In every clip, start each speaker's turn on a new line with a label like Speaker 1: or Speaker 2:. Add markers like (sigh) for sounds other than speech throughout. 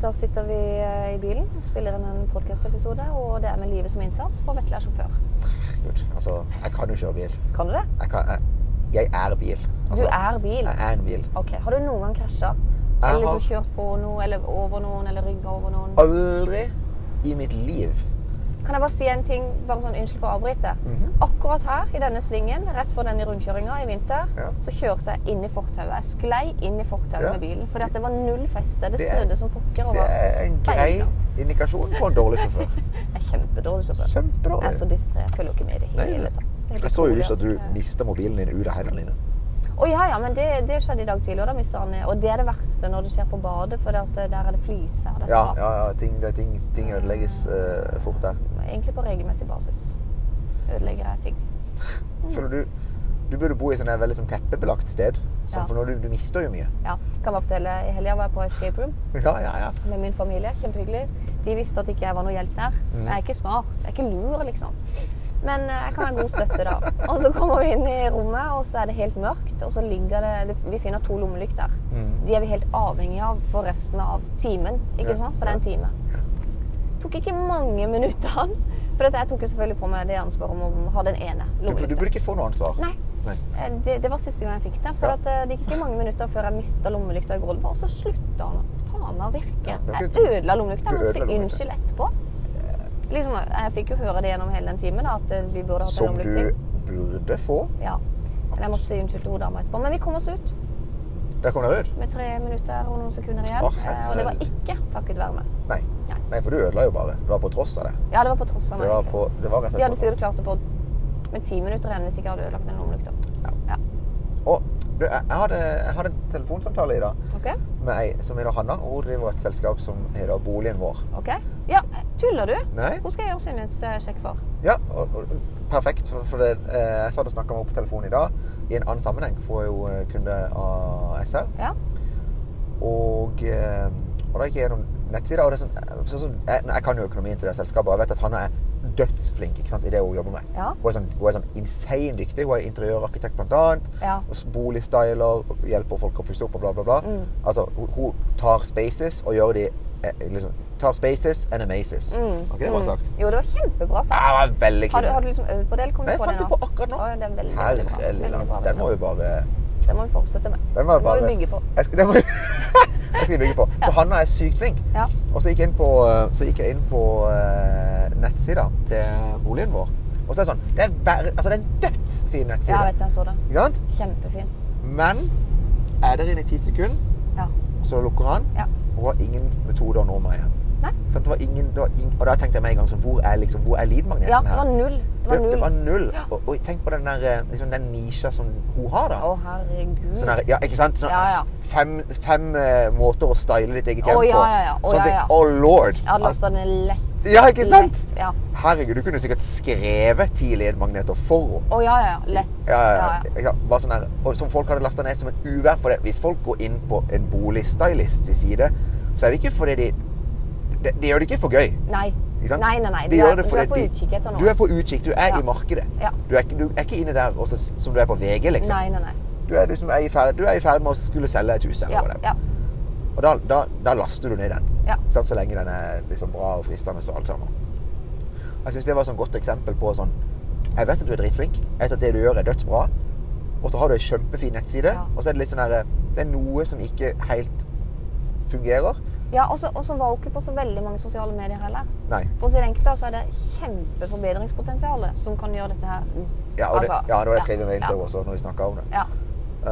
Speaker 1: Da sitter vi eh, i bilen, spiller inn en podkast-episode, og det er med livet som innsats, for Vetle er sjåfør.
Speaker 2: Herregud, altså, jeg kan jo kjøre bil.
Speaker 1: Kan du det?
Speaker 2: Jeg, kan, jeg, jeg er bil.
Speaker 1: Du
Speaker 2: Altså,
Speaker 1: er bil.
Speaker 2: Jeg er en bil.
Speaker 1: Ok, Har du noen gang krasja?
Speaker 2: Jeg
Speaker 1: Eller liksom
Speaker 2: har-
Speaker 1: kjørt på noe, eller over noen, eller rygga over noen?
Speaker 2: Aldri i mitt liv.
Speaker 1: Kan jeg bare si en ting? bare sånn Unnskyld for å avbryte.
Speaker 2: Mhm.
Speaker 1: Akkurat her, i denne svingen, rett for denne rundkjøringa i vinter,
Speaker 2: Ja.
Speaker 1: så kjørte jeg inn i fortauet. Jeg sklei inn i fortauet
Speaker 2: Ja.
Speaker 1: med bilen. Fordi at det var null feste. Det,
Speaker 2: Det er-
Speaker 1: snødde som pokker. og
Speaker 2: Det
Speaker 1: var
Speaker 2: er en grei
Speaker 1: speilblankt.
Speaker 2: indikasjon på en dårlig
Speaker 1: (laughs)
Speaker 2: sjåfør.
Speaker 1: Jeg er kjempedårlig sjåfør. Jeg er så
Speaker 2: Kjempedårlig.
Speaker 1: distré. Jeg følger jo ikke med i det
Speaker 2: Nei.
Speaker 1: hele tatt. Det er helt
Speaker 2: Jeg så jo
Speaker 1: utrolig
Speaker 2: lyst til at du
Speaker 1: jeg-
Speaker 2: mista mobilen din ut av hendene dine.
Speaker 1: Å ja, ja, men det, det skjedde i dag tidlig, og da mista han eh, Og det er det verste når det skjer på badet, for det at eh, der er det fliser. Det er
Speaker 2: Ja,
Speaker 1: så
Speaker 2: ja,
Speaker 1: hardt.
Speaker 2: ja ting, det er ting, ting ødelegges eh, fort der.
Speaker 1: Egentlig på regelmessig basis ødelegger jeg ting. Mm.
Speaker 2: Føler du du burde bo i sånn et veldig sånn teppebelagt sted. Sånn,
Speaker 1: Ja.
Speaker 2: For når du, du mister jo mye. (laughs)
Speaker 1: Ja, kan bare fortelle, I helga var jeg på escape room
Speaker 2: Ja, ja, ja.
Speaker 1: med min familie. Kjempehyggelig. De visste at ikke jeg var noe hjelp der.
Speaker 2: Mhm.
Speaker 1: Jeg er ikke smart. Jeg er ikke lur, liksom. Men eh, jeg kan ha god støtte, da. Og så kommer vi inn i rommet, og så er det helt mørkt. Og så ligger det, det Vi finner to lommelykter.
Speaker 2: Mm.
Speaker 1: De er vi helt avhengig av for resten av timen, ikke
Speaker 2: Ja,
Speaker 1: sant? For det er en time. tok ikke mange minuttene. (laughs) For at jeg tok jo selvfølgelig på meg det ansvaret om å ha den ene
Speaker 2: Du, du burde
Speaker 1: lommelykta.
Speaker 2: ikke få noe ansvar.
Speaker 1: Nei.
Speaker 2: Nei.
Speaker 1: Eh, Det, det var siste gang jeg fikk det. For
Speaker 2: Ja.
Speaker 1: at eh, det gikk ikke mange minutter før jeg mista lommelykta i gulvet, og så slutta den å- faen meg å virke.
Speaker 2: Ja, det er
Speaker 1: Jeg
Speaker 2: ikke-
Speaker 1: ødela lommelykta,
Speaker 2: Du
Speaker 1: men
Speaker 2: ødela
Speaker 1: fikk
Speaker 2: lommelykta.
Speaker 1: unnskyld etterpå. Liksom, jeg fikk jo høre det gjennom hele den timen, da, at eh, vi burde hatt en
Speaker 2: Som
Speaker 1: lommelykt
Speaker 2: du
Speaker 1: til.
Speaker 2: burde få.
Speaker 1: Ja. Men jeg måtte si unnskyld til hun dama etterpå. Men vi kom oss ut
Speaker 2: Der kom dere ut.
Speaker 1: med tre minutter og noen sekunder igjen.
Speaker 2: Å,
Speaker 1: eh, og det var
Speaker 2: herregud.
Speaker 1: ikke takket være meg.
Speaker 2: Nei.
Speaker 1: Nei.
Speaker 2: Nei, for du ødela jo bare. Det var på tross av det.
Speaker 1: Ja, det var på tross av
Speaker 2: Det
Speaker 1: meg.
Speaker 2: var,
Speaker 1: egentlig.
Speaker 2: på, det var rett og
Speaker 1: De hadde
Speaker 2: slett på
Speaker 1: sikkert klart det på med ti minutter igjen hvis ikke jeg hadde ødelagt den lommelykta. Ja.
Speaker 2: tross. Og du, jeg, jeg, hadde, jeg hadde en telefonsamtale i dag
Speaker 1: Ok?
Speaker 2: med ei som heter Hanna. og Hun driver et selskap som heter Boligen vår.
Speaker 1: ok. Ja, tuller du?
Speaker 2: Nei?
Speaker 1: Hvor skal jeg gjøre synlighetssjekk for?
Speaker 2: Ja, og, og, perfekt. For, for det, eh, jeg satt og snakka med henne på telefonen i dag i en annen sammenheng, for hun er jo eh, kunde av SR.
Speaker 1: Ja.
Speaker 2: Og, eh, og da gikk jeg gjennom nettsida. Og det er sånn, eh, sånn som, jeg, jeg kan jo økonomien til det selskapet, og jeg vet at Hanna er dødsflink ikke sant, i det hun jobber med.
Speaker 1: Ja.
Speaker 2: Hun er sånn, hun er sånn insane dyktig. Hun er interiørarkitekt, blant annet.
Speaker 1: Ja.
Speaker 2: og s- Boligstyler, og hjelper folk å pusse opp og bla, bla, bla.
Speaker 1: Mm.
Speaker 2: Altså, hun, hun tar spaces og gjør de eh, liksom, Tar spaces and amazes.
Speaker 1: Mm.
Speaker 2: Var ikke det bra
Speaker 1: Mm.
Speaker 2: sagt?
Speaker 1: Jo, det var kjempebra
Speaker 2: Ja,
Speaker 1: sagt.
Speaker 2: det var veldig
Speaker 1: Har du,
Speaker 2: kul.
Speaker 1: har du liksom øvd på det, eller kom du
Speaker 2: Nei, jeg
Speaker 1: på det
Speaker 2: fant
Speaker 1: nå?
Speaker 2: det på akkurat nå.
Speaker 1: Å, det er veldig, veldig bra.
Speaker 2: Herrelig
Speaker 1: Veldig
Speaker 2: land.
Speaker 1: bra,
Speaker 2: Den må vi bare
Speaker 1: Den må vi fortsette med.
Speaker 2: Den må vi
Speaker 1: Den må
Speaker 2: bare
Speaker 1: vi bygge på.
Speaker 2: Jeg skal, (laughs) den må vi Den skal vi bygge på. Så Hanna er sykt flink.
Speaker 1: Ja.
Speaker 2: Og så gikk jeg inn på, eh, så gikk jeg inn på eh, nettsida til boligen vår. Og så er det sånn Det er, ver altså, det er en dødsfin nettside.
Speaker 1: Ja, vet du, jeg så det.
Speaker 2: Ikke sant?
Speaker 1: Kjempefin.
Speaker 2: Men er dere inne i ti sekunder,
Speaker 1: Ja.
Speaker 2: så lukker han.
Speaker 1: Ja.
Speaker 2: Og har ingen metode å nå meg igjen.
Speaker 1: Nei.
Speaker 2: Sant? Det var ingen, det var ingen, og da tenkte jeg med en gang sånn Hvor er, liksom, hvor er lead-magneten
Speaker 1: Ja, det
Speaker 2: her?
Speaker 1: var null. Det var
Speaker 2: Det, det var
Speaker 1: null.
Speaker 2: null. Og, og tenk på den der eh, liksom, den nisja som hun har, da.
Speaker 1: Å, herregud.
Speaker 2: Sånn her, ja, ikke sant? Sånn,
Speaker 1: Ja, ja.
Speaker 2: Fem, fem eh, måter å style ditt
Speaker 1: Å,
Speaker 2: eget hjem på.
Speaker 1: ja, ja, ja. Å,
Speaker 2: Sånn
Speaker 1: ja,
Speaker 2: ting.
Speaker 1: ja.
Speaker 2: Oh lord!
Speaker 1: Jeg hadde lasta den lett.
Speaker 2: ja, ikke sant?
Speaker 1: Lett. Ja.
Speaker 2: Herregud, du kunne sikkert skrevet ti ledmagneter for henne.
Speaker 1: Å, ja, ja. Lett.
Speaker 2: Ja, ja, ja. ja. Bare sånn her. Og som folk hadde lasta ned som en uvær. For det. hvis folk går inn på en boligstylist sin side, så er det ikke fordi de De, de gjør det ikke for gøy.
Speaker 1: Nei.
Speaker 2: Ikke sant?
Speaker 1: Nei, nei, nei.
Speaker 2: De
Speaker 1: Du
Speaker 2: gjør
Speaker 1: er,
Speaker 2: det
Speaker 1: du er
Speaker 2: fordi
Speaker 1: på
Speaker 2: de-
Speaker 1: utkikk etter
Speaker 2: Du
Speaker 1: noe.
Speaker 2: er på utkikk. Du er
Speaker 1: Ja.
Speaker 2: i markedet.
Speaker 1: Ja.
Speaker 2: Du, er, ikke- du er ikke inne der og så, som du er på VG, liksom.
Speaker 1: Nei, nei, nei.
Speaker 2: Du er, du, som er i ferd, du er i ferd med å skulle selge et hus. eller
Speaker 1: Ja,
Speaker 2: hva det er.
Speaker 1: ja.
Speaker 2: Og da, da, da laster du ned den.
Speaker 1: Ja.
Speaker 2: Ikke sant? Så lenge den er liksom bra og fristende og alt sammen. Jeg synes det var et sånn godt eksempel på sånn Jeg vet at du er dritflink. Jeg vet at det du gjør, er dødsbra. Og så har du ei kjempefin nettside,
Speaker 1: Ja.
Speaker 2: og så er det litt sånn her Det er noe som ikke helt fungerer.
Speaker 1: Ja, og så og så var hun ikke på så veldig mange sosiale medier heller.
Speaker 2: Nei.
Speaker 1: For å si det enkelt, da, så er det kjempeforbedringspotensial som kan gjøre dette her.
Speaker 2: Ja, og det,
Speaker 1: Altså,
Speaker 2: ja, det var det jeg
Speaker 1: ja,
Speaker 2: skrev i mail til
Speaker 1: ja.
Speaker 2: henne også når vi snakka om det.
Speaker 1: Ja.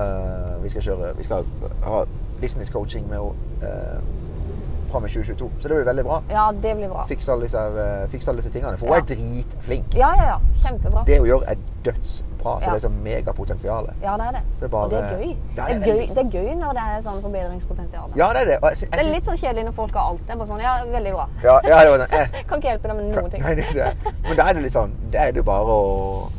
Speaker 2: Eh, vi skal kjøre Vi skal ha business coaching med henne eh, fra med 2022, så det blir veldig bra.
Speaker 1: ja, det blir bra.
Speaker 2: Fiks alle disse, her, eh, fiks alle disse tingene. For hun
Speaker 1: Ja.
Speaker 2: er dritflink.
Speaker 1: Ja, ja, ja. Kjempebra.
Speaker 2: Det hun gjør, er dødsbra. Så
Speaker 1: Ja.
Speaker 2: det er sånn megapotensial.
Speaker 1: Ja, det er det.
Speaker 2: Så det er bare-
Speaker 1: Og det er gøy.
Speaker 2: Ja,
Speaker 1: Det
Speaker 2: det
Speaker 1: er
Speaker 2: er
Speaker 1: gøy, det er gøy når det er sånn forbedringspotensial.
Speaker 2: Ja, det er det. Og jeg, sy- jeg
Speaker 1: Det er
Speaker 2: syns-
Speaker 1: litt sånn kjedelig når folk har alt. Det er bare sånn, ja, veldig bra. (laughs)
Speaker 2: ja, ja, det var sånn, eh,
Speaker 1: Kan ikke hjelpe deg med noen ting.
Speaker 2: Nei, det er det. Men da er det litt sånn Da er det jo bare å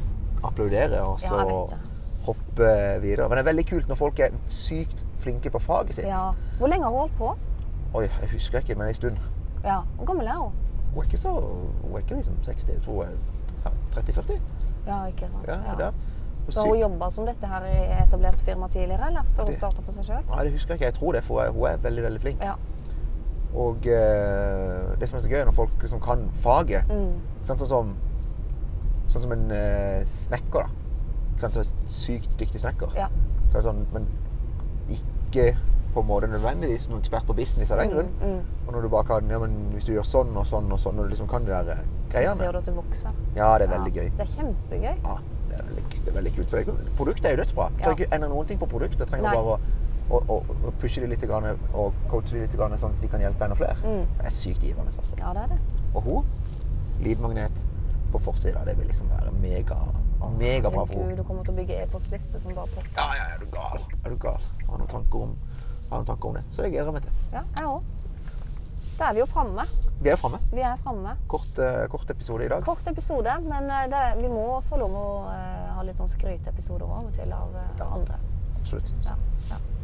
Speaker 2: applaudere og
Speaker 1: Ja,
Speaker 2: så
Speaker 1: jeg vet det.
Speaker 2: hoppe videre. Men det er veldig kult når folk er sykt flinke på faget sitt.
Speaker 1: Ja. Hvor lenge har hun holdt på?
Speaker 2: Oi, jeg husker ikke, men en stund.
Speaker 1: Ja. Hvor gammel er hun?
Speaker 2: Hun er ikke så Hun er ikke liksom 60, jeg tror jeg. Ja, 30-40?
Speaker 1: Ja, ikke sant.
Speaker 2: Ja,
Speaker 1: Ja.
Speaker 2: det er Hun
Speaker 1: Så
Speaker 2: sy-
Speaker 1: hun jobba som dette her i etablert firma tidligere, eller? Før hun
Speaker 2: Det-
Speaker 1: starta for seg sjøl?
Speaker 2: Nei, det husker jeg ikke. Jeg tror det, for hun er- hun er veldig, veldig flink.
Speaker 1: Ja.
Speaker 2: Og eh, det som er så gøy, er når folk som kan faget
Speaker 1: Mm.
Speaker 2: sant, Sånn som, sånn som en eh, snekker, da. Sånn som en sykt dyktig snekker.
Speaker 1: Ja.
Speaker 2: Så er det sånn, men ikke på en måte nødvendigvis noen ekspert på business av den grunn.
Speaker 1: Mm, mm.
Speaker 2: Og når du bare kan ja, men Hvis du gjør sånn og sånn og sånn, og du liksom kan de der eh,
Speaker 1: Så ser
Speaker 2: greiene
Speaker 1: du at det vokser.
Speaker 2: Ja, det er veldig
Speaker 1: Ja,
Speaker 2: gøy.
Speaker 1: Det er kjempegøy.
Speaker 2: Ja, det er veldig, det er veldig kult. For det- produktet er jo dødsbra. Du
Speaker 1: Ja.
Speaker 2: trenger ikke endre noen ting på produktet. Du trenger
Speaker 1: Nei.
Speaker 2: bare å, å, å, å pushe dem litt grann, og coache dem litt, grann, sånn at de kan hjelpe enda flere.
Speaker 1: Mm.
Speaker 2: Det er sykt givende. Altså.
Speaker 1: Ja, det er det.
Speaker 2: Og hun, lydmagnet på forsida, det vil liksom være mega, megabra for
Speaker 1: Herregud,
Speaker 2: henne.
Speaker 1: du kommer til å bygge e-postliste som bare popper.
Speaker 2: Ja, ja, er du gal? Er du gal? Har noen tanker om, har noen tanker om det. Så det gleder jeg meg til.
Speaker 1: Ja, jeg òg. Da er vi jo framme.
Speaker 2: Vi er jo framme.
Speaker 1: Vi er framme.
Speaker 2: Kort, eh, kort episode i dag.
Speaker 1: Kort episode, men eh, det, vi må få lov å eh, ha litt sånn skryteepisoder av og til av eh,
Speaker 2: Ja.
Speaker 1: andre.
Speaker 2: Absolutt.
Speaker 1: Ja, ja.